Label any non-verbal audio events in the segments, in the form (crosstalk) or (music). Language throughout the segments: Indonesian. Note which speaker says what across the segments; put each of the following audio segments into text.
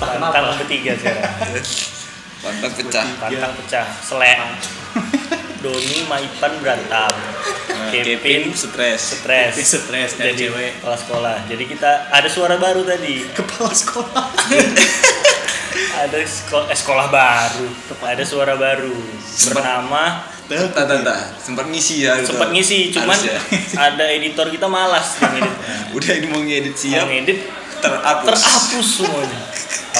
Speaker 1: Pantang
Speaker 2: apa?
Speaker 1: ketiga sekarang.
Speaker 2: (laughs) Iya.
Speaker 3: Pantang pecah.
Speaker 1: Pantang pecah. Selek. Doni Maipan berantem. Kevin
Speaker 3: Kevin stres.
Speaker 1: stres.
Speaker 2: Nah, Kevin stres, nyari
Speaker 1: Jadi
Speaker 2: cewek.
Speaker 1: kepala sekolah. Jadi kita ada suara baru tadi.
Speaker 2: Kepala sekolah.
Speaker 1: (laughs) Ada sekolah, eh, sekolah baru. Ada suara baru. Bernama
Speaker 3: Tata tata sempat ngisi ya. gitu.
Speaker 1: sempat ngisi cuman
Speaker 3: Harus ya.
Speaker 2: (laughs)
Speaker 1: ada editor kita malas ngedit.
Speaker 3: Udah ini mau ngedit
Speaker 1: Yang
Speaker 3: siap.
Speaker 2: Iya.
Speaker 1: ngedit
Speaker 3: Terhapus.
Speaker 1: terhapus semuanya.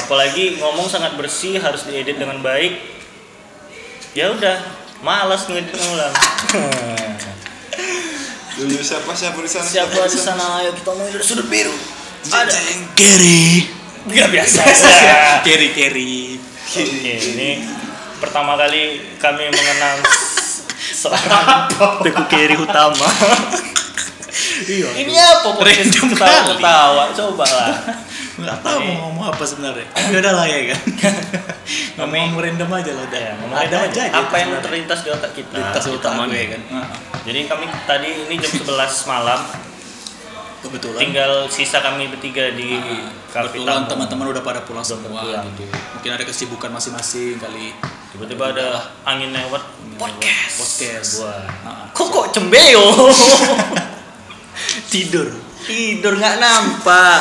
Speaker 1: Apalagi ngomong sangat bersih harus diedit dengan baik. Ya udah, malas ngedit ulang.
Speaker 3: Dulu siapa siapa di sana?
Speaker 1: Siapa di sana? Ayo kita mau dari sudut biru. Ada.
Speaker 3: Kiri.
Speaker 1: Gak (laughs) biasa ya.
Speaker 3: Kiri kiri.
Speaker 1: Oke, ini pertama kali kami mengenang s- seorang Teku Kiri Utama.
Speaker 2: Iya.
Speaker 1: ini apa podcast
Speaker 2: Random kali.
Speaker 1: ketawa-ketawa? Coba lah.
Speaker 2: Nggak tahu mau ngomong apa sebenarnya. Ya udah lah ya
Speaker 1: (laughs)
Speaker 2: kan. ngomong random aja lah udah.
Speaker 1: Ya, ngomong
Speaker 2: Ada
Speaker 1: apa-
Speaker 2: aja. gitu
Speaker 1: Apa yang
Speaker 2: sebenarnya.
Speaker 1: terlintas di otak kita?
Speaker 2: Lintas utama gue kan.
Speaker 1: Jadi kami tadi ini jam 11 malam
Speaker 2: Kebetulan.
Speaker 1: tinggal sisa kami bertiga di kafe
Speaker 2: Ah,
Speaker 1: tamu. Iya.
Speaker 2: Kebetulan teman-teman udah pada pulang semua
Speaker 1: pulang.
Speaker 2: gitu. Mungkin ada kesibukan masing-masing kali.
Speaker 1: Tiba-tiba ada angin lewat podcast.
Speaker 2: podcast.
Speaker 1: Wah.
Speaker 2: Ah.
Speaker 1: Kok kok cembeo?
Speaker 2: (laughs) Tidur.
Speaker 1: Tidur nggak
Speaker 2: (laughs)
Speaker 1: nampak.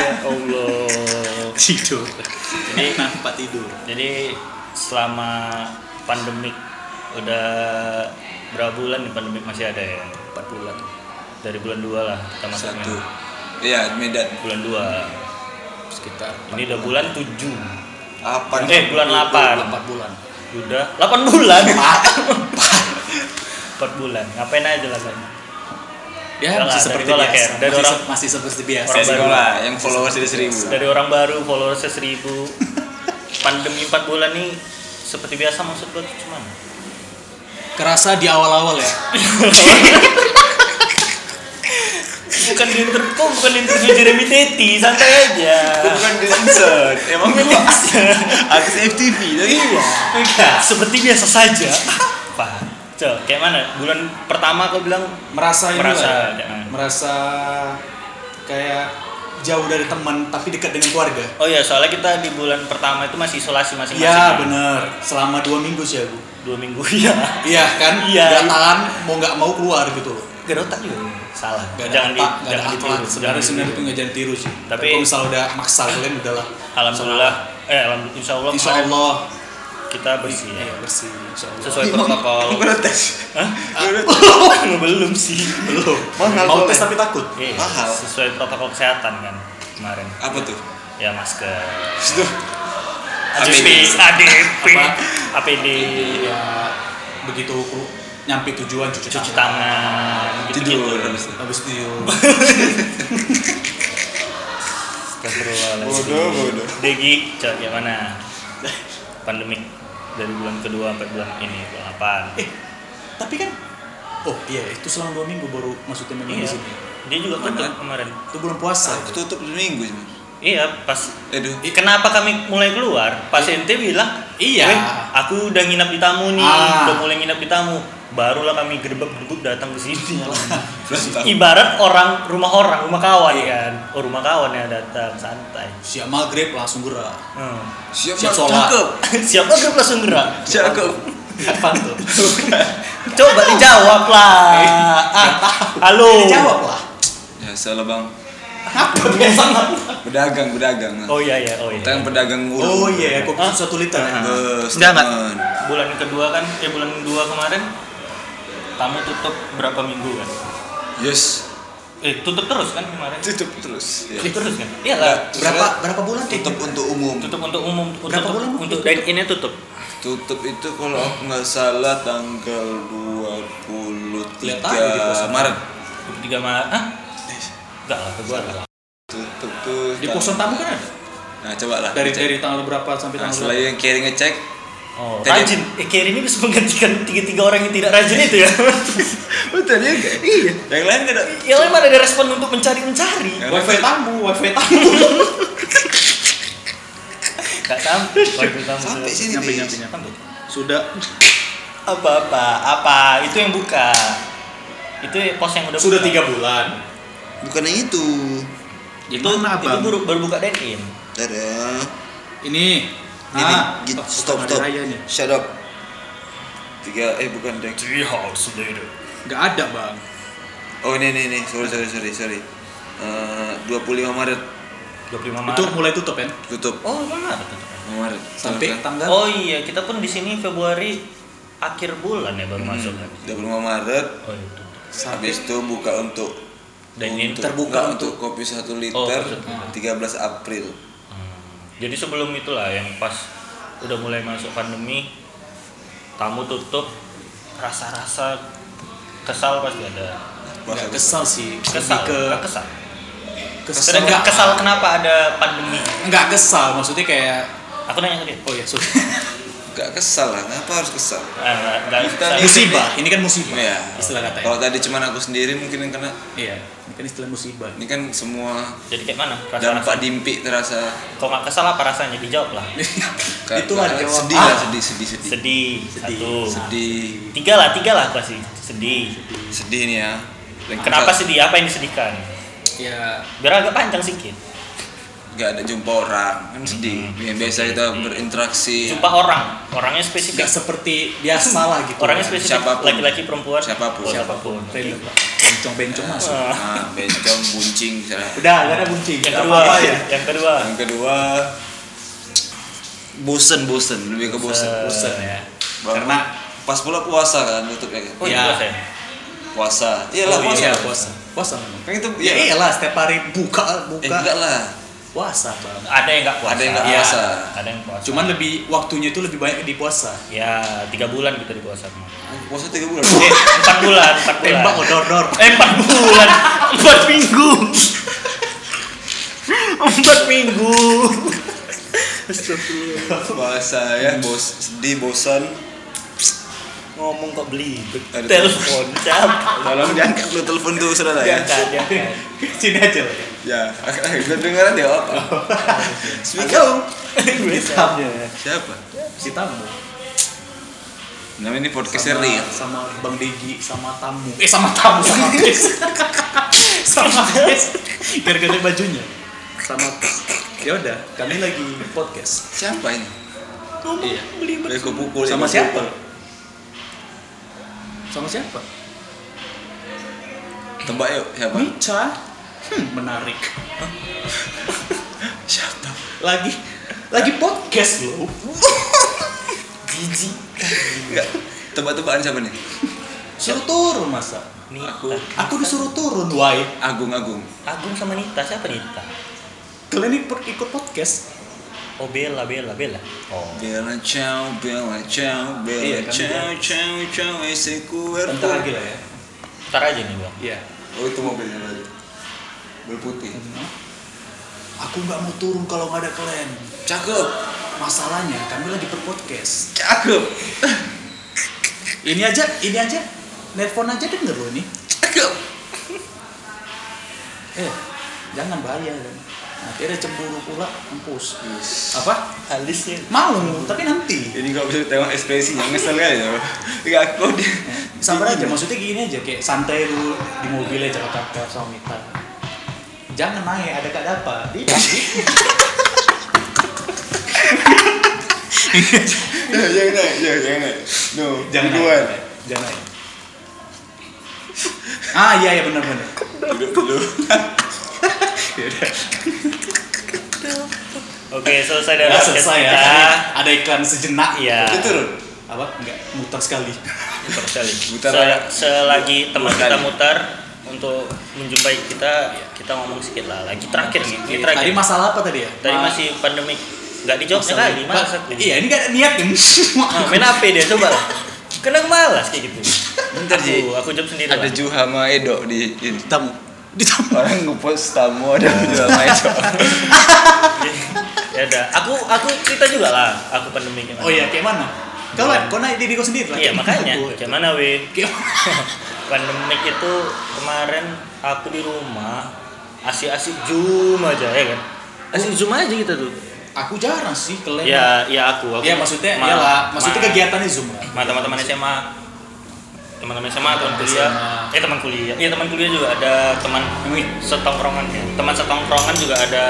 Speaker 1: ya Allah.
Speaker 2: Tidur.
Speaker 1: Jadi
Speaker 2: Nampak Nah, tidur.
Speaker 1: jadi selama pandemik udah berapa bulan nih pandemik masih ada ya?
Speaker 2: 4 bulan.
Speaker 1: Dari bulan 2 lah kita masuknya.
Speaker 3: Satu. Iya Medan.
Speaker 1: Bulan
Speaker 2: Sekitar
Speaker 1: 2. Ini udah bulan 7.
Speaker 3: Apa?
Speaker 1: Eh bulan 8.
Speaker 2: 4 bulan.
Speaker 1: Udah 8 bulan. (laughs) 4 bulan. Ngapain aja lah kan?
Speaker 2: Ya,
Speaker 1: Udah lah,
Speaker 2: masih
Speaker 1: dari
Speaker 2: seperti
Speaker 1: gua lah,
Speaker 2: biasa.
Speaker 1: Ken. Dari
Speaker 2: masih,
Speaker 1: orang-
Speaker 2: se- masih seperti biasa.
Speaker 1: orang
Speaker 3: Saya
Speaker 1: baru.
Speaker 3: sekolah yang followers dari seribu.
Speaker 1: Dari orang baru followersnya 1000. Pandemi 4 bulan nih seperti biasa maksud gue cuman
Speaker 2: Kerasa di awal-awal ya.
Speaker 1: bukan di interview kok bukan di interview Jeremy Teti santai aja
Speaker 3: Bukan dancer. Emang gua artis FTV tapi
Speaker 1: enggak seperti biasa saja apa Cok, kayak mana bulan pertama kau bilang
Speaker 2: Merasa ini
Speaker 1: Merasa,
Speaker 2: lah ya.
Speaker 1: jangan.
Speaker 2: merasa kayak jauh dari teman tapi dekat dengan keluarga.
Speaker 1: oh iya soalnya kita di bulan pertama itu masih isolasi masing-masing kan?"
Speaker 2: Iya bener, selama dua minggu sih aku.
Speaker 1: dua minggu (laughs) ya
Speaker 2: Iya kan,
Speaker 1: Iya.
Speaker 2: Gak tahan, mau nggak mau keluar gitu loh.
Speaker 1: gak ada otak juga salah
Speaker 2: Gak ada
Speaker 1: jangan di
Speaker 2: otak, gak ada
Speaker 1: jangan
Speaker 2: akhlak.
Speaker 1: ditiru
Speaker 2: Sebenarnya
Speaker 1: jangan
Speaker 2: sebenarnya itu nggak jangan tiru sih.
Speaker 1: Tapi-
Speaker 2: kalau misalnya udah maksa kalian udahlah.
Speaker 1: alhamdulillah eh alhamdulillah insya Allah
Speaker 2: Insya
Speaker 1: kemarin
Speaker 2: Allah,
Speaker 1: kita bersih ya
Speaker 2: iya bersih. Insya Allah.
Speaker 1: sesuai
Speaker 3: (laughs)
Speaker 1: protokol
Speaker 3: protes.
Speaker 1: Hah? belum sih
Speaker 2: Belum.
Speaker 3: Mahal
Speaker 2: Mau
Speaker 3: soalnya.
Speaker 2: ya? tes Oh, tapi takut.
Speaker 1: Iya,
Speaker 3: Mahal.
Speaker 1: sesuai protokol kesehatan kan kemarin
Speaker 3: Apa tuh?
Speaker 1: ya masker
Speaker 3: Itu
Speaker 1: ADP ADP APD
Speaker 2: Iya. Begitu kru- nyampe tujuan cuci,
Speaker 1: cuci
Speaker 2: tangan.
Speaker 1: tangan gitu
Speaker 3: tidur.
Speaker 1: gitu
Speaker 3: habis itu.
Speaker 2: Habis itu (laughs)
Speaker 3: Bodoh, bodoh.
Speaker 1: Degi cok gimana pandemik dari bulan kedua sampai bulan ini bulan apa
Speaker 2: Eh, tapi kan Oh iya, itu selama dua minggu baru maksudnya minggu di
Speaker 1: iya
Speaker 2: sini.
Speaker 1: dia juga tutup
Speaker 3: Mana?
Speaker 1: kemarin
Speaker 2: Itu bulan puasa.
Speaker 3: Aku tutup dua minggu cuma.
Speaker 1: iya pas
Speaker 3: Aduh.
Speaker 1: Kenapa kami mulai keluar? Pas ente bilang,
Speaker 2: Iya.
Speaker 1: "Weh, aku udah nginap di tamu nih,
Speaker 2: Ah.
Speaker 1: udah mulai nginap di tamu. Barulah kami gerbek-gerbek datang ke sini.
Speaker 3: Belum tahu.
Speaker 1: Ibarat orang rumah orang, rumah kawan kan. Oh, rumah kawan ya datang santai.
Speaker 2: Siap maghrib langsung gerak. (laughs)
Speaker 1: Hmm. (laughs)
Speaker 3: Siap,
Speaker 2: Siap
Speaker 3: Siap
Speaker 2: sholat.
Speaker 3: Cakep.
Speaker 1: Siapa grup langsung gerak?
Speaker 3: Cakep.
Speaker 2: Apa tuh?
Speaker 1: Coba dijawab lah. Ah, halo.
Speaker 2: Eh. Dijawab lah.
Speaker 3: Ya salah bang.
Speaker 2: Apa biasa
Speaker 3: Pedagang, pedagang.
Speaker 1: Oh iya iya, oh iya.
Speaker 3: Kita yang pedagang ulu.
Speaker 2: Oh iya, kopi
Speaker 1: Hah?
Speaker 2: susu satu liter.
Speaker 3: Eh,
Speaker 2: ya?
Speaker 1: Enggak, enggak.
Speaker 3: statement.
Speaker 1: Bulan kedua kan, eh bulan dua kemarin tamu tutup berapa minggu kan?
Speaker 3: Yes.
Speaker 1: Eh tutup terus kan kemarin?
Speaker 3: Tutup terus. Ya.
Speaker 1: Tutup terus kan? Iya lah.
Speaker 3: Enggak.
Speaker 2: Berapa berapa bulan kayak
Speaker 3: Tutup
Speaker 2: gitu?
Speaker 3: untuk umum.
Speaker 1: Tutup untuk umum. Untuk,
Speaker 2: Berapa bulan
Speaker 1: Untuk dine ini tutup.
Speaker 3: Tutup itu kalau aku nggak salah tanggal 23
Speaker 2: Lihat aja di poster.
Speaker 3: Maret.
Speaker 1: 23 Maret. Hah? Enggak lah, kedua lah.
Speaker 3: Tutup tuh.
Speaker 2: Di
Speaker 3: tang-
Speaker 2: poson tamu kan ada.
Speaker 3: Nah, coba lah.
Speaker 2: Dari dari tanggal berapa sampai
Speaker 3: Nah,
Speaker 2: tanggal
Speaker 3: setelah yang kiri ngecek,
Speaker 1: Oh,
Speaker 3: Tadi-
Speaker 1: rajin. Eh, Kerry ini bisa menggantikan tiga-tiga orang yang tidak rajin itu ya.
Speaker 3: Betul ya enggak? Iya. Yang lain enggak ada.
Speaker 1: ya emang ada respon untuk mencari-mencari.
Speaker 3: Yang
Speaker 2: Wifi
Speaker 3: lain-
Speaker 2: tamu, wifi tamu.
Speaker 1: Enggak sampai.
Speaker 3: Sampai sini
Speaker 2: Nyampe,
Speaker 3: deh.
Speaker 2: nyampe, nyampe. Sudah
Speaker 1: Apa-apa? Apa? Itu yang buka. Itu pos yang udah
Speaker 2: sudah
Speaker 1: buka.
Speaker 2: tiga bulan.
Speaker 3: Bukan yang itu.
Speaker 1: Itu
Speaker 2: Mana,
Speaker 1: itu
Speaker 2: Bang?
Speaker 1: baru, baru buka dine in.
Speaker 3: Dadah.
Speaker 2: Ini.
Speaker 3: Ini,
Speaker 2: Ah,
Speaker 3: git-
Speaker 2: oh,
Speaker 3: stop,
Speaker 2: bukan
Speaker 3: stop.
Speaker 2: hari raya nih.
Speaker 3: Shut up. Tiga, eh bukan deng.
Speaker 1: Three hours later.
Speaker 2: Nggak ada bang.
Speaker 3: Oh ini, ini, ini. Sorry, sorry, sorry, sorry. Eh, 25 Maret
Speaker 1: 25 Maret.
Speaker 2: Itu mulai tutup kan?
Speaker 3: tutup.
Speaker 1: Oh, benar.
Speaker 3: 25 Maret. kan?
Speaker 2: Sampai
Speaker 3: Silakan.
Speaker 2: tanggal.
Speaker 1: Oh iya, kita pun di sini Februari akhir bulan ya
Speaker 3: Hmm,
Speaker 2: Hmm.
Speaker 1: baru masuk kan.
Speaker 3: 25 Maret.
Speaker 1: Oh itu.
Speaker 2: Sampai.
Speaker 3: Habis itu buka untuk
Speaker 1: Dan ini
Speaker 3: untuk-
Speaker 2: terbuka
Speaker 3: enggak,
Speaker 2: untuk-
Speaker 3: untuk kopi 1
Speaker 1: Oh,
Speaker 3: liter
Speaker 1: kopi satu
Speaker 3: 13 April.
Speaker 1: Hmm. Jadi sebelum itulah yang pas udah mulai masuk pandemi, tamu tutup, rasa-rasa kesal pasti ada.
Speaker 3: Puasa
Speaker 2: Nggak kesal sih.
Speaker 1: Kesal,
Speaker 2: Lebih ke
Speaker 1: nggak kesal.
Speaker 2: kesal.
Speaker 1: Kesal,
Speaker 2: Nggak
Speaker 1: kesal kenapa ada pandemi?
Speaker 2: nggak kesal. Maksudnya kayak.
Speaker 1: Aku nanya ke dia.
Speaker 2: Oh ya
Speaker 3: (laughs)
Speaker 2: sorry.
Speaker 3: Iya. Gak kesal lah, kenapa harus kesal?
Speaker 1: Ah, nggak- nggak
Speaker 2: Iya,
Speaker 3: Kita
Speaker 1: kesal.
Speaker 3: nih-
Speaker 2: musibah. Ini kan musibah.
Speaker 3: Iya.
Speaker 2: Istilah kata. ya.
Speaker 3: Kalau tadi cuman aku sendiri mungkin yang kena.
Speaker 2: Iya. Ini kan istilah musibah.
Speaker 3: Ini kan semua
Speaker 1: Jadi kayak mana? Rasa-rasa.
Speaker 3: dampak dimpi terasa.
Speaker 1: Kok nggak kesal apa rasanya? Dijawab lah.
Speaker 3: Kayak-
Speaker 2: Itulah
Speaker 3: kayak
Speaker 2: jawaban.
Speaker 3: Sedih lah, sedih, sedih, sedih.
Speaker 1: Sedih, satu.
Speaker 3: Sedih,
Speaker 1: Tiga lah, tiga lah pasti. Sedih.
Speaker 3: sedih nih ya. Dan
Speaker 1: Kenapa sedih? Apa yang disedihkan?
Speaker 2: Ya.
Speaker 1: Biar agak panjang sedikit.
Speaker 3: Gak ada jumpa orang, kan
Speaker 2: Hmm.
Speaker 3: sedih. Yang biasa kita berinteraksi.
Speaker 1: Jumpa orang, orangnya spesifik.
Speaker 2: Nggak seperti biasa lah gitu.
Speaker 1: orangnya spesifik
Speaker 3: Siapapun.
Speaker 1: lagi-lagi perempuan
Speaker 3: Siapapun.
Speaker 1: Oh,
Speaker 2: Siapapun.
Speaker 1: siapapun
Speaker 2: Random lah. Bencong-bencong masuk.
Speaker 1: Ah.
Speaker 3: Nah, bencong, buncing, misalnya.
Speaker 2: Udah, gak ada kunci.
Speaker 1: yang kedua
Speaker 2: Apa-apa ya?
Speaker 1: yang kedua
Speaker 3: Yang kedua bosen bosen lebih ke bosen.
Speaker 2: Bosen ya.
Speaker 3: Bangun-
Speaker 2: Karena
Speaker 3: pas pula puasa kan tutupnya kan.
Speaker 1: oh
Speaker 2: Iya.
Speaker 1: iya saya
Speaker 3: Puasa. Iyalah
Speaker 1: Oh,
Speaker 3: puasa.
Speaker 2: iya, puasa. Puasa memang.
Speaker 3: Kan itu
Speaker 2: Ya iyalah setiap hari buka
Speaker 3: Eh,
Speaker 2: buka
Speaker 3: enggak lah.
Speaker 2: puasa bang.
Speaker 1: ada yang nggak puasa
Speaker 3: Ada yang nggak
Speaker 1: Iya,
Speaker 3: puasa.
Speaker 1: ada yang puasa
Speaker 2: Cuman lebih waktunya itu lebih banyak di puasa.
Speaker 1: ya tiga bulan kita di puasa eh
Speaker 3: Puasa tiga bulan.
Speaker 2: (laughs)
Speaker 1: empat bulan empat bulan
Speaker 2: Tembak odor (laughs) dor.
Speaker 1: eh empat bulan empat minggu empat minggu
Speaker 3: puasa ya, bos sedih bosan.
Speaker 1: ngomong kok belibet
Speaker 3: Ada
Speaker 1: telepon cap
Speaker 3: Tolong diangkat lu telepon tuh saudara ya.
Speaker 1: diangkat diangkat
Speaker 2: (laughs) Sini aja lah.
Speaker 3: Ya, (laughs) gue dengeran ya apa? Speak out.
Speaker 2: Hitamnya.
Speaker 3: Siapa?
Speaker 2: Si tamu.
Speaker 3: Namanya ini podcastnya
Speaker 2: Sama,
Speaker 3: Ria.
Speaker 2: sama Bang Degi sama tamu. Eh sama tamu sama Chris. (laughs) sama Chris. Gara-gara bajunya. Sama Chris. Ya udah, kami lagi podcast.
Speaker 3: Siapa ini?
Speaker 2: Ngomong
Speaker 3: Iya.
Speaker 2: belibet.
Speaker 3: Udah gue pukul.
Speaker 2: Sama
Speaker 3: ya,
Speaker 2: siapa?
Speaker 3: gua pukul.
Speaker 2: Sama siapa?
Speaker 3: Tebak yuk siapa?
Speaker 2: Mica. Hmm, (laughs) menarik.
Speaker 3: Siapa?
Speaker 2: Lagi lagi podcast loh.
Speaker 1: jijik
Speaker 3: Enggak. Tebak-tebakan siapa nih?
Speaker 2: Suruh turun masa.
Speaker 1: Nita
Speaker 3: Aku-
Speaker 2: Aku disuruh turun, why?
Speaker 3: Agung Agung.
Speaker 1: Agung sama Nita siapa Nita
Speaker 2: Kalian ikut, ikut podcast?
Speaker 1: oh Bella Bella Bella oh
Speaker 3: Bella ciao, bella ciao, bella
Speaker 2: Iya, kan,
Speaker 3: ciao,
Speaker 2: Bella.
Speaker 3: ciao, ciao, ese cuerpo.
Speaker 2: Bentar lagi lah ya.
Speaker 1: ntar aja nih bang
Speaker 2: Iya.
Speaker 3: Oh itu mobilnya tadi. Mobil putih.
Speaker 2: Aku nggak mau turun kalau nggak ada kalian.
Speaker 3: Cakep,
Speaker 2: Masalahnya kami lagi berpodcast.
Speaker 3: cakep, (laughs)
Speaker 2: Ini aja, ini aja. Nelfon aja denger loh ini.
Speaker 3: cakep.
Speaker 2: Eh, jangan bahaya kan. Nanti ada cemburu pula, empus.
Speaker 3: Yes.
Speaker 2: Apa?
Speaker 1: alisnya
Speaker 2: Mau, tapi nanti.
Speaker 3: Ini kalau bisa tengok ekspresinya ngesel kan ya. Enggak aku dia.
Speaker 2: Sabar aja, maksudnya gini aja, kayak santai dulu di mobil aja cakap-cakap sama Mita. Jangan naik, ada Iya. kak apa?
Speaker 1: (laughs)
Speaker 3: Ya, jangan naik, ya, jangan naik. No,
Speaker 2: Jangan
Speaker 3: duluan.
Speaker 2: naik. Jangan naik. Ah iya iya benar benar.
Speaker 3: Duduk dulu.
Speaker 1: Oke, selesai dari
Speaker 2: Ya,
Speaker 1: podcast
Speaker 2: selesai ya.
Speaker 1: kita.
Speaker 2: Tadi Ada iklan sejenak
Speaker 1: Iya.
Speaker 3: Itu turun.
Speaker 2: Apa? Enggak muter sekali.
Speaker 1: Muter sekali.
Speaker 3: Muter
Speaker 1: Se-
Speaker 3: ya.
Speaker 1: selagi teman
Speaker 3: Muter
Speaker 1: kita
Speaker 3: kali.
Speaker 1: mutar untuk menjumpai kita, kita ngomong sedikit lah. Lagi terakhir nih, ini terakhir.
Speaker 2: Iya. Tadi masalah apa tadi ya?
Speaker 1: Tadi
Speaker 2: Ma-
Speaker 1: masih pandemi. Nggak dijawabnya
Speaker 2: masalah-
Speaker 1: kali, malas
Speaker 2: Ma-
Speaker 1: aku.
Speaker 2: Iya, ini gak ada niat kan.
Speaker 1: Ah, (laughs) main HP dia, coba lah. Kena malas kayak gitu.
Speaker 3: Bentar, Ji.
Speaker 1: aku, aku jawab sendiri
Speaker 3: Ada
Speaker 1: lah.
Speaker 3: Juha sama Edo di ini.
Speaker 2: Tamu. Di tamu.
Speaker 3: Orang ngepost tamu ada Juha sama Edo.
Speaker 1: ya udah. Aku aku cerita juga lah, aku pandemi gimana.
Speaker 2: (laughs) Oh iya, kayak mana? Kau lah, kau naik diriku sendiri lah.
Speaker 1: Iya,
Speaker 2: Kayak
Speaker 1: makanya.
Speaker 2: (laughs) aku.
Speaker 1: Gimana, weh?
Speaker 2: Kayak
Speaker 1: pandemik itu kemarin aku di rumah asik-asik zoom aja ya kan asik zoom aja gitu tuh
Speaker 2: aku jarang sih kalian.
Speaker 1: ya ya aku aku
Speaker 2: Iya, maksudnya
Speaker 1: ma-
Speaker 2: iyalah,
Speaker 1: ma-
Speaker 2: maksudnya kegiatannya Zoom lah.
Speaker 1: ma- teman-teman SMA teman-teman SMA teman kuliah
Speaker 2: SMA.
Speaker 1: eh teman kuliah iya teman kuliah juga ada teman setongkrongan ya teman setongkrongan juga ada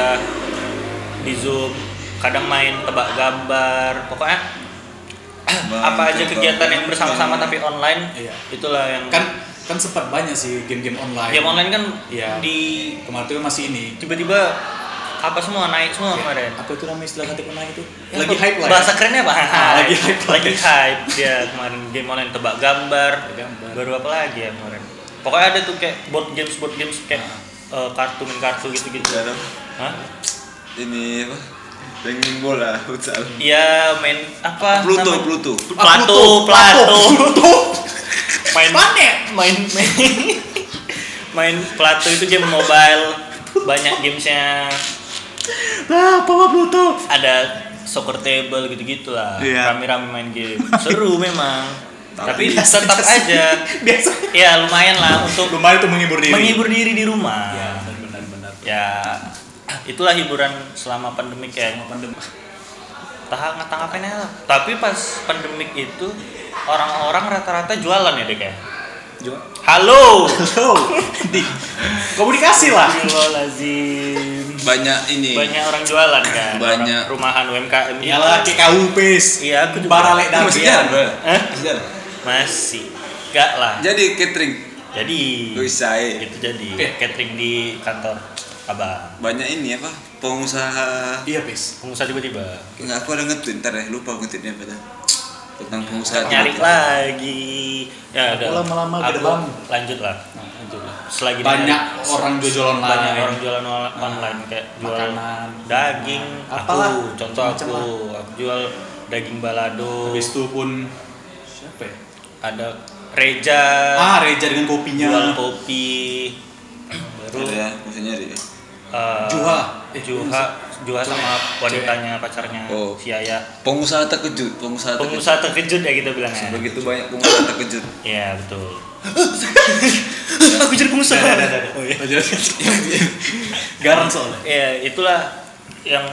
Speaker 1: di zoom kadang main tebak gambar pokoknya
Speaker 3: Main
Speaker 1: (laughs) apa aja
Speaker 3: tebak
Speaker 1: kegiatan yang bersama-sama
Speaker 3: gambar.
Speaker 1: tapi online
Speaker 2: Iya.
Speaker 1: itulah yang
Speaker 2: kan kan sempat banyak sih game-game online
Speaker 1: game online kan
Speaker 2: Iya.
Speaker 1: di
Speaker 2: kemarin tuh masih ini
Speaker 1: tiba-tiba apa semua naik semua kemarin
Speaker 2: apa itu namanya istilah kata online itu
Speaker 1: Ya,
Speaker 2: Iya. lagi hype lah ya.
Speaker 1: bahasa kerennya apa
Speaker 2: Ah, (laughs) lagi hype lah
Speaker 1: lagi
Speaker 2: ya.
Speaker 1: hype dia kemarin game online tebak gambar
Speaker 2: Tebak gambar.
Speaker 1: baru apa lagi ya kemarin pokoknya ada tuh kayak board games board games kayak
Speaker 2: Nah.
Speaker 1: eh, kartu main kartu gitu gitu
Speaker 3: Jarang
Speaker 1: Hah?
Speaker 3: Iya, ini apa? Pengen bola futsal.
Speaker 1: Iya main apa?
Speaker 3: Pluto,
Speaker 1: namanya?
Speaker 3: Pluto.
Speaker 2: Ah,
Speaker 1: Plato, Plato.
Speaker 2: Pluto
Speaker 1: Main
Speaker 2: planet
Speaker 1: main main main Plato itu game
Speaker 2: (laughs)
Speaker 1: mobile banyak gamesnya
Speaker 2: (laughs) ah apa apa Pluto
Speaker 1: ada soccer table gitu gitulah
Speaker 3: Iya.
Speaker 1: rame-rame main game
Speaker 3: (laughs)
Speaker 1: seru memang tapi,
Speaker 3: Tapi- iya
Speaker 1: tetap aja
Speaker 2: biasa
Speaker 1: ya lumayan lah untuk
Speaker 2: lumayan tuh menghibur diri
Speaker 1: menghibur diri di rumah
Speaker 3: Iya.
Speaker 2: ya benar-benar
Speaker 1: ya itulah hiburan selama pandemik ya
Speaker 2: sama pandemi
Speaker 1: tahap ngatangapain aja lah tapi pas pandemik itu orang-orang rata-rata jualan ya dek ya
Speaker 2: Jual.
Speaker 3: (laughs)
Speaker 1: halo
Speaker 2: Halo, di komunikasi lah.
Speaker 1: Astagfirullahalazim.
Speaker 3: Banyak ini.
Speaker 1: banyak orang jualan kan
Speaker 3: Banyak.
Speaker 1: Orang rumahan UMKM gitu.
Speaker 2: Iyalah KKU pes.
Speaker 1: iya aku juga
Speaker 2: Para lek
Speaker 3: Ini masih jalan,
Speaker 2: dabian.
Speaker 3: Bro.
Speaker 1: Hah?
Speaker 3: Masih jalan.
Speaker 1: masih enggak lah
Speaker 3: Jadi catering
Speaker 1: jadi
Speaker 3: usai.
Speaker 1: itu Gitu jadi
Speaker 2: Oke.
Speaker 1: catering di kantor abang
Speaker 3: Banyak ini apa? Pengusaha
Speaker 2: Iya pes.
Speaker 1: pengusaha tiba-tiba
Speaker 3: Enggak aku ada nge-tweet ntar ya, lupa nge-tweetnya apa dah. Tentang pengusaha.
Speaker 1: nyari lagi ya udah
Speaker 2: Lama-lama
Speaker 1: Aku
Speaker 2: gerbang.
Speaker 1: lanjut lah
Speaker 2: Nah, lanjut lah.
Speaker 1: selagi
Speaker 2: Banyak orang jualan online.
Speaker 1: banyak orang jualan on- online kayak jual
Speaker 2: Makanan.
Speaker 1: daging
Speaker 2: Apalah,
Speaker 1: aku contoh
Speaker 2: macam-macam
Speaker 1: aku aku jual daging balado
Speaker 2: Habis itu pun siapa ya?
Speaker 1: ada reja
Speaker 2: Ah Reja dengan kopinya.
Speaker 1: jual Iya, kopi baru
Speaker 3: Ada ya, maksudnya ada ya.
Speaker 1: eh,
Speaker 2: Juha. Eh,
Speaker 1: Juha Juha sama wanitanya pacarnya
Speaker 3: Oh.
Speaker 1: si Yaya
Speaker 3: Pengusaha terkejut, pengusaha terkejut.
Speaker 1: pengusaha terkejut ya kita bilangnya
Speaker 3: Begitu banyak pengusaha terkejut.
Speaker 1: iya betul aku jadi pengusaha
Speaker 2: Ada ada ada.
Speaker 3: iya. (laughs)
Speaker 2: Garang soalnya.
Speaker 1: ya itulah yang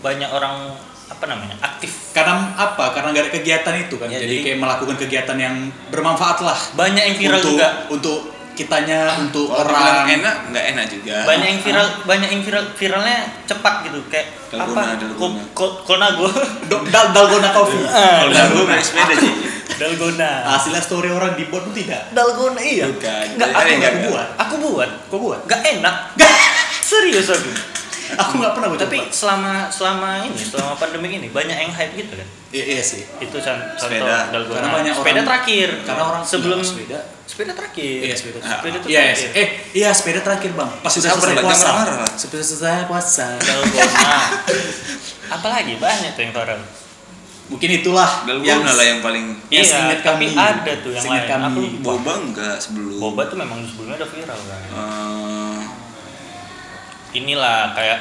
Speaker 1: banyak orang apa namanya aktif
Speaker 2: Karena apa? Karena nggak ada kegiatan itu kan.
Speaker 1: Ya,
Speaker 2: jadi,
Speaker 1: jadi-
Speaker 2: kayak melakukan kegiatan yang bermanfaat lah.
Speaker 1: banyak yang viral
Speaker 2: untuk,
Speaker 1: juga
Speaker 2: Untuk kitanya, untuk
Speaker 3: Kalau
Speaker 2: orang.
Speaker 3: dibilang enak, nggak enak juga.
Speaker 1: banyak yang viral banyak yang viral viralnya cepat gitu kayak
Speaker 3: Dalgona,
Speaker 1: apa
Speaker 3: dalgona.
Speaker 1: Ko- ko- konago
Speaker 2: Do- Dal dalgona coffee.
Speaker 1: Ah,
Speaker 3: Kalau aku naik sepeda sih.
Speaker 1: dalgona
Speaker 2: Nah, Hasilnya story orang dibuat pun tidak.
Speaker 1: dalgona iya
Speaker 3: Bukan.
Speaker 1: nggak
Speaker 3: Jadi
Speaker 1: aku
Speaker 3: enggak,
Speaker 1: nggak
Speaker 3: enggak.
Speaker 1: buat aku buat
Speaker 2: Kok buat?
Speaker 1: nggak enak (laughs) serius aku
Speaker 2: Aku nggak pernah buat.
Speaker 1: tapi selama selama ini selama pandemi ini banyak yang hype gitu kan
Speaker 2: Iya, iya sih.
Speaker 1: itu con- contoh
Speaker 3: Sepeda.
Speaker 1: dalgona
Speaker 2: Karena banyak
Speaker 1: sepeda
Speaker 2: orang-
Speaker 1: terakhir
Speaker 2: Karena orang
Speaker 1: sebelum
Speaker 2: Iya, sepeda.
Speaker 1: sepeda terakhir
Speaker 2: Iya, sepeda
Speaker 3: terakhir.
Speaker 1: sepeda itu
Speaker 2: Iya,
Speaker 1: terakhir.
Speaker 2: eh iya sepeda terakhir bang. Pas sudah
Speaker 3: Sabar,
Speaker 2: selesai
Speaker 3: Bang.
Speaker 2: puasa.
Speaker 3: Jangan marah-marah.
Speaker 2: Sudah selesai puasa. (laughs)
Speaker 1: dalgona apalagi banyak tuh yang viral
Speaker 2: Mungkin itulah
Speaker 3: Dalgona lah yang paling
Speaker 2: Yang seingat
Speaker 1: Iya, tapi
Speaker 2: kami.
Speaker 1: ada tuh yang
Speaker 2: Seingat
Speaker 1: lain.
Speaker 2: kami.
Speaker 1: Aku
Speaker 3: boba enggak sebelum.
Speaker 1: boba tuh memang sebelumnya udah viral kan.
Speaker 3: Eh,
Speaker 1: Inilah kayak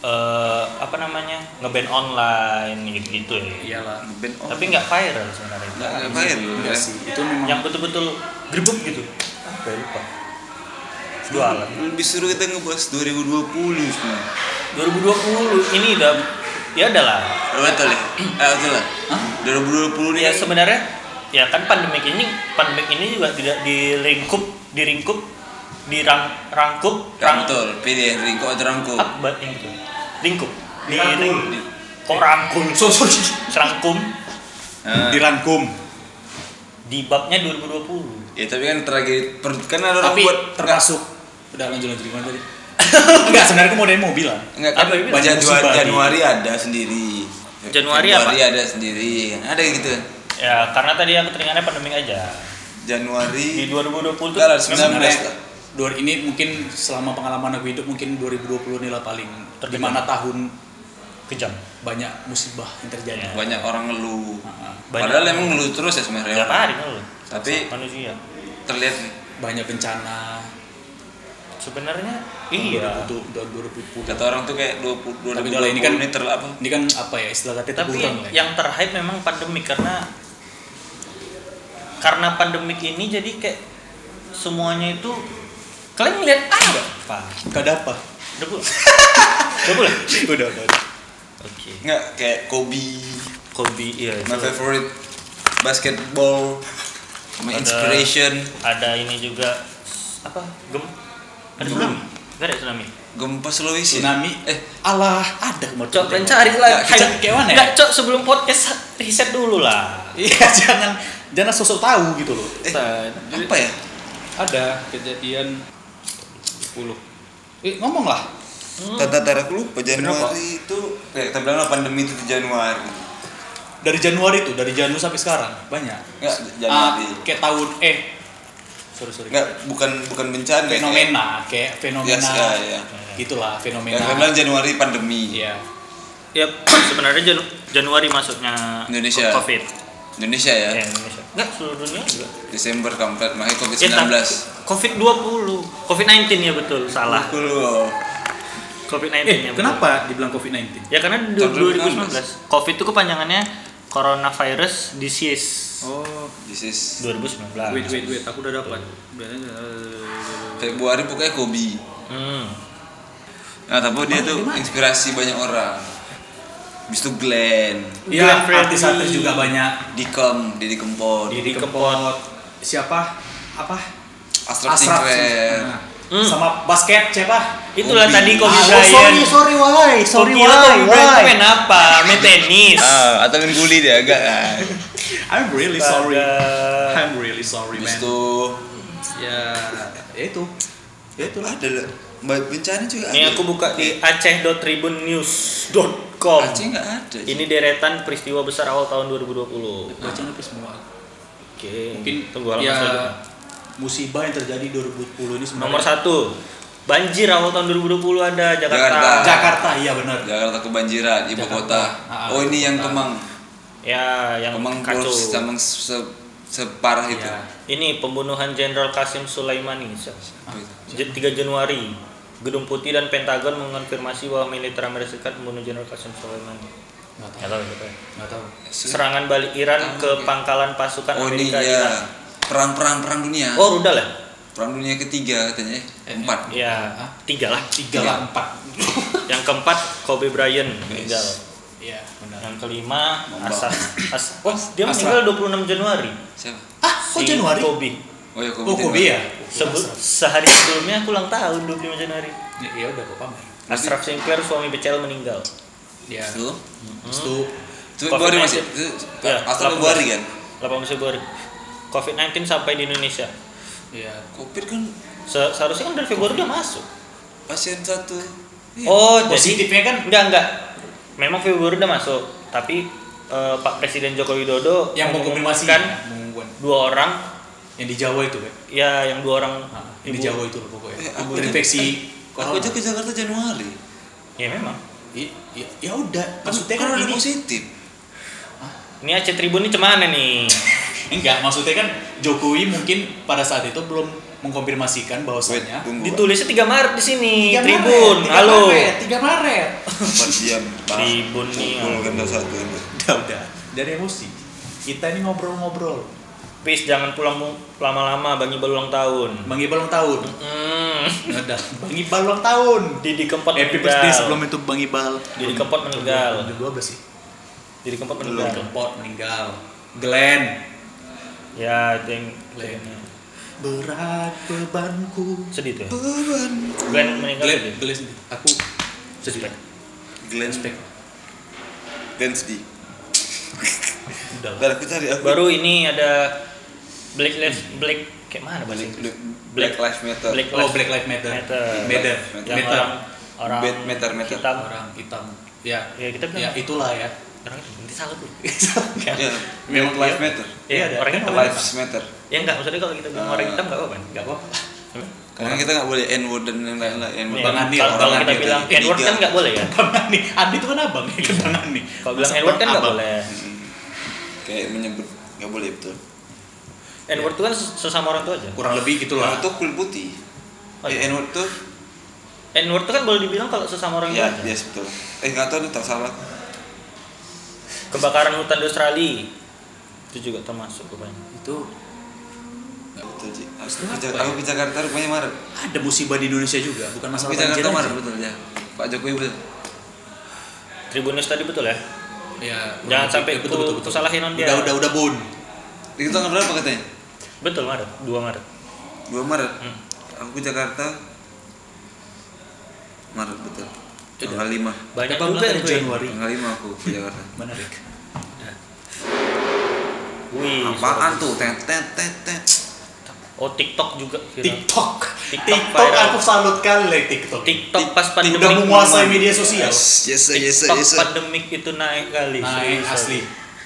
Speaker 1: eh, apa namanya ngeband online gitu-gitu ya.
Speaker 2: Iyalah.
Speaker 3: ngeband on.
Speaker 1: Tapi nggak viral sebenarnya.
Speaker 3: Nggak ngapain lu.
Speaker 2: Enggak sih. Itu memang.
Speaker 1: Yang betul-betul grebek gitu. Apa ya, lupa. Jualan.
Speaker 3: Lu disuruh kita ngebahas 2020 semua.
Speaker 1: 2020 ini udah ya adalah.
Speaker 3: Oh, betul ya? Eh, betul lah. 2020 nih
Speaker 1: Ya sebenarnya ya kan pandemik ini pandemik ini juga tidak diringkup diringkup dirang rangkup
Speaker 3: Ya,
Speaker 1: rang
Speaker 3: betul. Pilih Ringko atau Rangko.
Speaker 1: apa yang itu ringkup di
Speaker 2: Dirangkul.
Speaker 1: kok rangkul
Speaker 2: (laughs) So, so,
Speaker 1: serangkum
Speaker 3: Ah,
Speaker 2: dirangkum.
Speaker 1: di babnya 2020
Speaker 3: ya tapi kan tragedi per, kan ada orang
Speaker 2: Tapi
Speaker 3: buat
Speaker 2: termasuk. Udah lanjut lanjut gimana
Speaker 1: (laughs)
Speaker 2: tadi? Enggak, sebenarnya aku mau dari mobil lah.
Speaker 3: enggak kan
Speaker 1: Apa yang bilang?
Speaker 3: Januari,
Speaker 2: Musibah.
Speaker 3: Januari ada sendiri.
Speaker 1: Januari
Speaker 3: Februari ada sendiri. Kan Ada gitu.
Speaker 1: ya karena tadi aku teringatnya pandemi aja di 2020
Speaker 3: Januari
Speaker 1: tuh
Speaker 3: Enggak
Speaker 1: memang
Speaker 3: lah, Belas
Speaker 2: Sebenarnya
Speaker 3: lah.
Speaker 2: dua ini mungkin selama pengalaman aku hidup mungkin 2020 ini lah paling
Speaker 1: Terdekat.
Speaker 2: dimana tahun
Speaker 1: kejam
Speaker 2: banyak musibah yang terjadi.
Speaker 1: Iya.
Speaker 3: banyak orang ngeluh.
Speaker 2: Ah,
Speaker 1: Banyak.
Speaker 3: Padahal emang ngeluh terus ya sebenarnya.
Speaker 2: Iya,
Speaker 1: tiap
Speaker 3: orang.
Speaker 1: hari kan lu
Speaker 3: Tapi
Speaker 1: manusia
Speaker 3: terlihat nih
Speaker 2: banyak bencana
Speaker 1: sebenarnya iya
Speaker 2: untuk tahun 2020
Speaker 3: kata orang tuh kayak 20
Speaker 2: Tapi
Speaker 3: 2020
Speaker 2: kalau ini kan-
Speaker 3: ini terlalu apa?
Speaker 2: ini kan apa ya istilah tadi
Speaker 1: tapi
Speaker 2: terkurang lah ya.
Speaker 1: yang terhype memang pandemi karena karena pandemik ini jadi kayak semuanya itu kalian lihat apa
Speaker 2: gak ada apa
Speaker 1: udah boleh (laughs) udah boleh
Speaker 2: udah udah, udah.
Speaker 1: oke
Speaker 3: Enggak kayak Kobe,
Speaker 1: Kobe iya itu
Speaker 3: my favorite basketball, my
Speaker 1: Ada-
Speaker 3: inspiration.
Speaker 1: ada ini juga s- apa gem ada
Speaker 3: Gem.
Speaker 1: tsunami nggak ada tsunami
Speaker 3: Gempa Sulawesi.
Speaker 2: tsunami eh alah ada kemarin
Speaker 1: Cok, lain cari lagi.
Speaker 2: Nggak, jangan kayak mana ya?
Speaker 1: Nggak, Cok, sebelum podcast riset dulu lah.
Speaker 2: iya (laughs) jangan jangan sosok tahu gitu loh
Speaker 3: Eh,
Speaker 2: Ustaz.
Speaker 3: Apa ya?
Speaker 2: ada kejadian 10 eh ngomong lah
Speaker 3: Tata tarik lupa Januari itu ya kita bilang lah pandemi itu di Januari.
Speaker 2: dari Januari tuh dari Januari sampai sekarang banyak
Speaker 3: Enggak
Speaker 2: Ah,
Speaker 3: Januari.
Speaker 2: kayak tahun eh sorry sorry
Speaker 3: Enggak bukan bukan bencana. ya.
Speaker 2: fenomena kayak fenomena Eh,
Speaker 3: Yes, ya, ya.
Speaker 2: gitulah
Speaker 3: Ya,
Speaker 2: fenomena
Speaker 3: kita bilang Januari pandemi.
Speaker 2: Iya.
Speaker 1: Ya, sebenarnya Janu- Januari masuknya
Speaker 3: Indonesia.
Speaker 1: COVID.
Speaker 3: Indonesia ya.
Speaker 2: Iya.
Speaker 1: Ya, Indonesia. Nggak, seluruh dunia juga.
Speaker 3: Desember kampret makanya
Speaker 1: Eh,
Speaker 3: Covid-19.
Speaker 1: tapi COVID-20. COVID-19 ya betul, salah.
Speaker 3: Aku loh.
Speaker 1: COVID-19
Speaker 2: eh
Speaker 1: ya betul.
Speaker 2: kenapa dibilang COVID-19
Speaker 1: Ya karena du-
Speaker 3: Tahun
Speaker 1: 2019. COVID itu kepanjangannya Coronavirus Disease.
Speaker 2: oh
Speaker 3: This is
Speaker 1: 2019.
Speaker 2: wait wait wait aku udah dapat
Speaker 3: Februari pokoknya Kobe.
Speaker 1: Hmm.
Speaker 3: Nah, tapi dia
Speaker 2: Emang
Speaker 3: tuh
Speaker 2: gimana?
Speaker 3: inspirasi banyak orang. Habis itu Glenn,
Speaker 2: ya
Speaker 1: Glenn Fredly.
Speaker 2: artis-artis juga banyak
Speaker 3: Dikem, Didi Kempot,
Speaker 2: Didi Kempot siapa apa
Speaker 3: Astra
Speaker 2: Ashraf
Speaker 3: Sinclair.
Speaker 2: Nah.
Speaker 1: Hmm.
Speaker 2: sama basket siapa
Speaker 1: Itulah
Speaker 3: Kobe.
Speaker 1: tadi ya. Kobe
Speaker 2: Ah, oh,
Speaker 1: Bryant.
Speaker 2: sorry why
Speaker 1: Kau kira Kobe Bryant itu main apa? Main tenis.
Speaker 3: Ah, atau main guli dia agak. ah.
Speaker 2: I'm really sorry
Speaker 1: Ada-
Speaker 2: I'm really sorry
Speaker 3: Habis
Speaker 2: man
Speaker 3: itu
Speaker 2: ya ya itu ya itu lah
Speaker 3: ada lah. Ba- bencana juga
Speaker 1: Ini
Speaker 3: ada.
Speaker 1: aku buka di aceh.tribunnews.com.
Speaker 3: Aceh nggak ada.
Speaker 1: Ini deretan peristiwa besar awal tahun 2020.
Speaker 2: bacanya plus semua
Speaker 1: Oke.
Speaker 2: mungkin
Speaker 1: tunggu halaman
Speaker 2: ya
Speaker 1: selanjutnya.
Speaker 2: musibah yang terjadi 2020 ini sebenarnya
Speaker 1: Nomor satu. Banjir awal tahun 2020 ada Jakarta.
Speaker 3: Jakarta.
Speaker 2: Jakarta iya benar
Speaker 3: Jakarta kebanjiran, ibu
Speaker 2: Jakarta.
Speaker 3: kota.
Speaker 2: Ah,
Speaker 3: oh ini
Speaker 2: ibu
Speaker 3: yang
Speaker 2: kota.
Speaker 3: Kemang,
Speaker 1: Ya, yang
Speaker 3: Kemang
Speaker 1: kacau.
Speaker 3: Boros, Kemang se- se- separah itu.
Speaker 2: Iya.
Speaker 1: Ini pembunuhan Jenderal Kasim Sulaimani.
Speaker 3: Apa itu?
Speaker 1: Je- 3 Januari. Gedung Putih dan Pentagon mengonfirmasi bahwa militer Amerika Serikat membunuh Jenderal Kasim Sulaimani.
Speaker 2: nggak
Speaker 1: Nggak
Speaker 2: tahu
Speaker 1: tahu, nggak tahu.
Speaker 2: nggak tahu
Speaker 1: Serangan balik Iran ke pangkalan pasukan
Speaker 3: Oh ini
Speaker 1: Kan Amerika Iran.
Speaker 3: ya perang-perang perang dunia.
Speaker 1: Oh, udah lah.
Speaker 3: Perang dunia ketiga katanya,
Speaker 2: Eh,
Speaker 3: empat.
Speaker 1: Ya,
Speaker 2: Hah?
Speaker 1: tiga lah.
Speaker 2: tiga lah (laughs) empat
Speaker 1: Yang keempat Kobe Bryant meninggal.
Speaker 2: iya benar
Speaker 1: Yang kelima
Speaker 3: Mamba.
Speaker 1: Asa As Oh, dia
Speaker 2: Asra.
Speaker 1: meninggal 26 Januari.
Speaker 3: Siapa?
Speaker 2: ah kok
Speaker 1: Si
Speaker 2: Januari
Speaker 1: Kobe.
Speaker 3: Oh ya
Speaker 2: oh Kobe ya
Speaker 1: Sebelum
Speaker 2: Ashraf.
Speaker 1: sehari sebelumnya aku ulang tahun 25 Januari.
Speaker 2: ya iya udah kok pamer
Speaker 1: Ashraf Sinclair suami Becel meninggal.
Speaker 2: ya
Speaker 3: Itu.
Speaker 2: Terus tuh
Speaker 3: Itu Februari
Speaker 1: COVID-19.
Speaker 3: masih. Itu
Speaker 1: Ya,
Speaker 3: atau
Speaker 1: 18.
Speaker 3: Februari kan?
Speaker 1: 18 Februari. COVID-19 sampai di Indonesia.
Speaker 2: ya
Speaker 3: Covid kan
Speaker 1: Se- seharusnya kan dari Februari udah masuk.
Speaker 3: pasien satu. Iya.
Speaker 1: Oh, jadi
Speaker 2: positifnya kan
Speaker 1: enggak enggak. Memang Februari udah masuk, tapi eh, Pak Presiden Joko Widodo
Speaker 2: yang mengkonfirmasi
Speaker 1: mengumumkan
Speaker 2: mengumumkan
Speaker 1: dua orang
Speaker 2: yang di Jawa itu kan
Speaker 1: ya yang dua orang
Speaker 2: Nah, yang
Speaker 1: ibu.
Speaker 2: di Jawa itu loh pokoknya
Speaker 3: Eh, aku
Speaker 2: terinfeksi
Speaker 3: Aku
Speaker 2: corona
Speaker 3: aja ke Jakarta Januari.
Speaker 1: Ya memang.
Speaker 2: I- ya, ya udah maksudnya
Speaker 3: Kan
Speaker 2: kan
Speaker 3: ada
Speaker 2: ini
Speaker 3: positif.
Speaker 1: Ini Aceh Tribun ini cemana nih?
Speaker 2: enggak maksudnya kan Jokowi mungkin pada saat itu belum mengkonfirmasikan bahwasanya
Speaker 3: Tunggu.
Speaker 1: Ditulisnya 3 Maret di sini.
Speaker 2: 3
Speaker 1: Tribun.
Speaker 2: Maret, 3
Speaker 1: Halo.
Speaker 2: Maret, 3 Maret
Speaker 3: Empat (laughs) jam.
Speaker 1: Tribun nih,
Speaker 3: Pukul
Speaker 1: ampun.
Speaker 3: ganda satu.
Speaker 2: udah udah dari emosi kita ini ngobrol-ngobrol
Speaker 1: Peace jangan pulang mu- lama-lama bagi baru ulang tahun.
Speaker 2: Bang Iqbal ulang tahun
Speaker 1: Hmm.
Speaker 2: udah Bang Iqbal ulang tahun
Speaker 1: Didi Kempot
Speaker 2: happy
Speaker 1: meninggal.
Speaker 2: birthday sebelum itu Bang Iqbal
Speaker 1: Didi Kempot meninggal.
Speaker 2: 2012 sih
Speaker 1: Didi Kempot
Speaker 2: Belum
Speaker 1: meninggal.
Speaker 2: Pot meninggal Glenn
Speaker 1: Ya, itu yang
Speaker 2: Glenn. berat bebanku
Speaker 1: sedih tuh. ya.
Speaker 3: Beban.
Speaker 1: Glenn meninggal
Speaker 2: Glenn
Speaker 1: sedih.
Speaker 2: Glenn sendiri. aku sedih
Speaker 3: Glenn
Speaker 2: respect
Speaker 3: Glenn sedih.
Speaker 2: udah lah.
Speaker 3: Ntar aku cari aku.
Speaker 1: Baru ini ada Black Lives Black kayak mana bahasa
Speaker 3: Black,
Speaker 1: Inggris?
Speaker 3: Black Lives Matter.
Speaker 1: Black
Speaker 2: oh
Speaker 1: Lives
Speaker 2: Black Lives Matter
Speaker 1: Matter.
Speaker 2: Matter
Speaker 1: Yang
Speaker 2: Matter.
Speaker 1: orang orang
Speaker 3: Bad Matter, Matter.
Speaker 1: hitam.
Speaker 2: orang hitam ya
Speaker 1: Ya kita bilang
Speaker 2: ya itulah ya
Speaker 1: orang nanti salah tuh.
Speaker 3: Ya. Black
Speaker 2: Memang
Speaker 3: Lives
Speaker 2: iya.
Speaker 3: Matter.
Speaker 2: Iya,
Speaker 1: Ya,
Speaker 2: ada.
Speaker 1: orang
Speaker 2: (laughs) Kan
Speaker 1: hitam.
Speaker 2: orang-
Speaker 3: Lives Matter.
Speaker 1: Ya enggak, maksudnya kalau kita bilang orang
Speaker 3: Ah.
Speaker 1: hitam enggak apa-apa.
Speaker 2: nggak apa-apa
Speaker 3: Karena kita nggak boleh N word dan lain-lain lah. N word.
Speaker 1: Ya,
Speaker 2: Bang Andi,
Speaker 1: kalau,
Speaker 2: Bang
Speaker 1: kalau kita
Speaker 3: Andi.
Speaker 1: bilang
Speaker 3: Eh,
Speaker 1: N-word kan
Speaker 3: tiga.
Speaker 1: nggak boleh ya?
Speaker 2: Bang Ani Andi itu kan abang ya kan Bang Ani
Speaker 1: Kalau bilang
Speaker 2: Masa
Speaker 1: N-word kan
Speaker 2: Bang
Speaker 1: nggak
Speaker 2: abang?
Speaker 1: boleh.
Speaker 3: Mm-mm. Kayak menyebut nggak boleh betul.
Speaker 1: N-word itu kan sesama orang tua aja.
Speaker 2: kurang lebih
Speaker 1: Nah,
Speaker 3: N
Speaker 2: gitu gitulah
Speaker 3: word tuh kulit putih.
Speaker 1: Oh,
Speaker 3: Eh,
Speaker 1: iya.
Speaker 3: N word tuh
Speaker 1: N-word itu kan boleh dibilang kalau sesama
Speaker 2: Iya,
Speaker 1: orang tua
Speaker 3: ya
Speaker 1: aja.
Speaker 3: biasa betul. Eh nggak tahu nih tak salah.
Speaker 1: Kebakaran hutan di Australia itu juga termasuk kebanyakan.
Speaker 2: itu
Speaker 3: Nggak betul Ji. Aku ke
Speaker 2: Kenapa
Speaker 3: Jakarta-
Speaker 2: ya?
Speaker 3: Aku ke Jakarta rupanya Maret.
Speaker 2: ada musibah di Indonesia juga bukan masalah
Speaker 3: Aku ke
Speaker 2: banjir
Speaker 3: Jakarta
Speaker 2: aja.
Speaker 3: Maret betul ya. Pak Jokowi betul.
Speaker 1: Tribun News tadi betul ya?
Speaker 2: ya kurang
Speaker 1: Jangan
Speaker 2: lebih.
Speaker 1: sampai
Speaker 2: Ya, betul
Speaker 1: ku-
Speaker 2: betul betul
Speaker 1: kusalahin on dia.
Speaker 2: udah udah udah bun
Speaker 3: Itu tanggal berapa katanya?
Speaker 1: Betul Maret, 2 Maret.
Speaker 3: 2 Maret.
Speaker 1: Hmm.
Speaker 3: Aku ke Jakarta Maret betul. Tanggal 5.
Speaker 1: Banyak
Speaker 2: Dapat
Speaker 1: juga
Speaker 2: bulan
Speaker 1: yang
Speaker 2: Januari.
Speaker 3: Tanggal 5 aku ke Jakarta.
Speaker 2: Menarik.
Speaker 1: Wih, suara-
Speaker 3: Apaan tuh? Tet tet tet tet.
Speaker 1: Oh, TikTok juga viral.
Speaker 2: TikTok.
Speaker 1: TikTok
Speaker 2: TikTok
Speaker 1: viral.
Speaker 2: aku salutkan lah TikTok.
Speaker 1: TikTok pas pandemi.
Speaker 2: Udah menguasai
Speaker 1: memang.
Speaker 2: media sosial.
Speaker 3: Yes, yes,
Speaker 2: Iya,
Speaker 3: yes,
Speaker 1: TikTok
Speaker 3: yes.
Speaker 1: pandemik itu naik kali.
Speaker 2: Naik,
Speaker 1: seriusan.
Speaker 2: asli.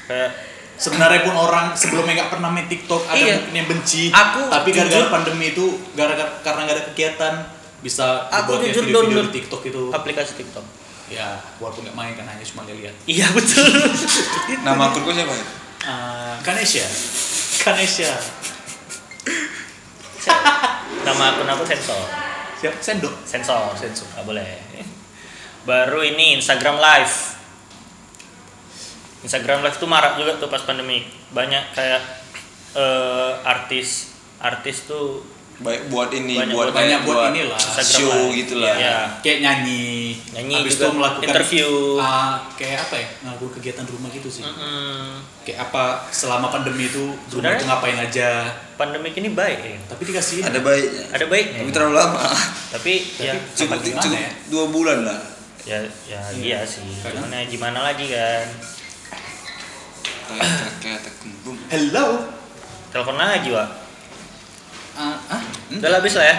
Speaker 1: Kayak
Speaker 2: Sebenarnya pun orang sebelumnya nggak pernah main TikTok, ada
Speaker 1: Iya.
Speaker 2: mungkin yang benci.
Speaker 1: Aku
Speaker 2: tapi gara-gara
Speaker 1: jujur-
Speaker 2: pandemi itu gara-gara karena nggak ada kegiatan bisa
Speaker 1: Aku
Speaker 2: dibuatnya
Speaker 1: jujur
Speaker 2: video-video
Speaker 1: download.
Speaker 2: di TikTok itu.
Speaker 1: aplikasi TikTok.
Speaker 2: Ya, walaupun nggak main kan hanya cuma lihat.
Speaker 1: Iya betul. (laughs)
Speaker 3: Nama aku siapa ya?
Speaker 2: Ah,
Speaker 1: (laughs)
Speaker 2: Kanesha. Kanesha.
Speaker 1: Nama akun aku sensor.
Speaker 2: Siap sendok.
Speaker 1: Sensor.
Speaker 2: Sensor.
Speaker 1: Nggak boleh. Baru ini Instagram Live. Instagram Live tuh marak juga tuh pas pandemi. Banyak kayak eh, artis artis tuh
Speaker 3: Baik buat ini,
Speaker 1: Banyak
Speaker 3: buat
Speaker 1: buat-
Speaker 2: banyak buat
Speaker 3: buat
Speaker 2: inilah.
Speaker 1: Instagram
Speaker 3: show
Speaker 1: Live.
Speaker 3: gitu lah.
Speaker 1: Iya.
Speaker 2: Kayak nyanyi,
Speaker 1: Nyanyi
Speaker 2: habis
Speaker 1: juga.
Speaker 2: itu melakukan
Speaker 1: Interview. Hmm.
Speaker 2: Ah, kayak apa ya? Ngelakuin kegiatan di rumah gitu sih.
Speaker 1: Mm-mm.
Speaker 2: Kayak apa selama pandemi itu di rumah
Speaker 1: Sebenarnya-
Speaker 2: itu ngapain aja?
Speaker 1: pandemik ini baik ya.
Speaker 2: Tapi dikasih
Speaker 3: Ada baiknya.
Speaker 1: ada baiknya
Speaker 3: Tapi terlalu lama.
Speaker 1: tapi, ya
Speaker 2: Tapi-
Speaker 3: Cukup
Speaker 2: Gimana
Speaker 3: cukup
Speaker 2: ya?
Speaker 3: dua bulan lah.
Speaker 1: ya ya iya sih
Speaker 2: Karena-
Speaker 1: cuman ya gimana lagi kan
Speaker 3: Kayak kayak tekembung.
Speaker 2: Hello.
Speaker 1: telepon lagi wa
Speaker 2: Ah, ah, hmm?
Speaker 1: udah lah, habis lah ya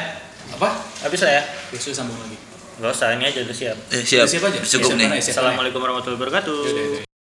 Speaker 2: apa?
Speaker 1: habis lah ya
Speaker 2: Besok sambung lagi.
Speaker 1: gak usah ini aja udah siap
Speaker 3: Eh, siap.
Speaker 2: Siap aja.
Speaker 3: Cukup
Speaker 2: Siap,
Speaker 3: nih.
Speaker 2: mana ya? Siap, mana ya?
Speaker 1: assalamualaikum warahmatullahi wabarakatuh
Speaker 2: Yaudah, yaudah.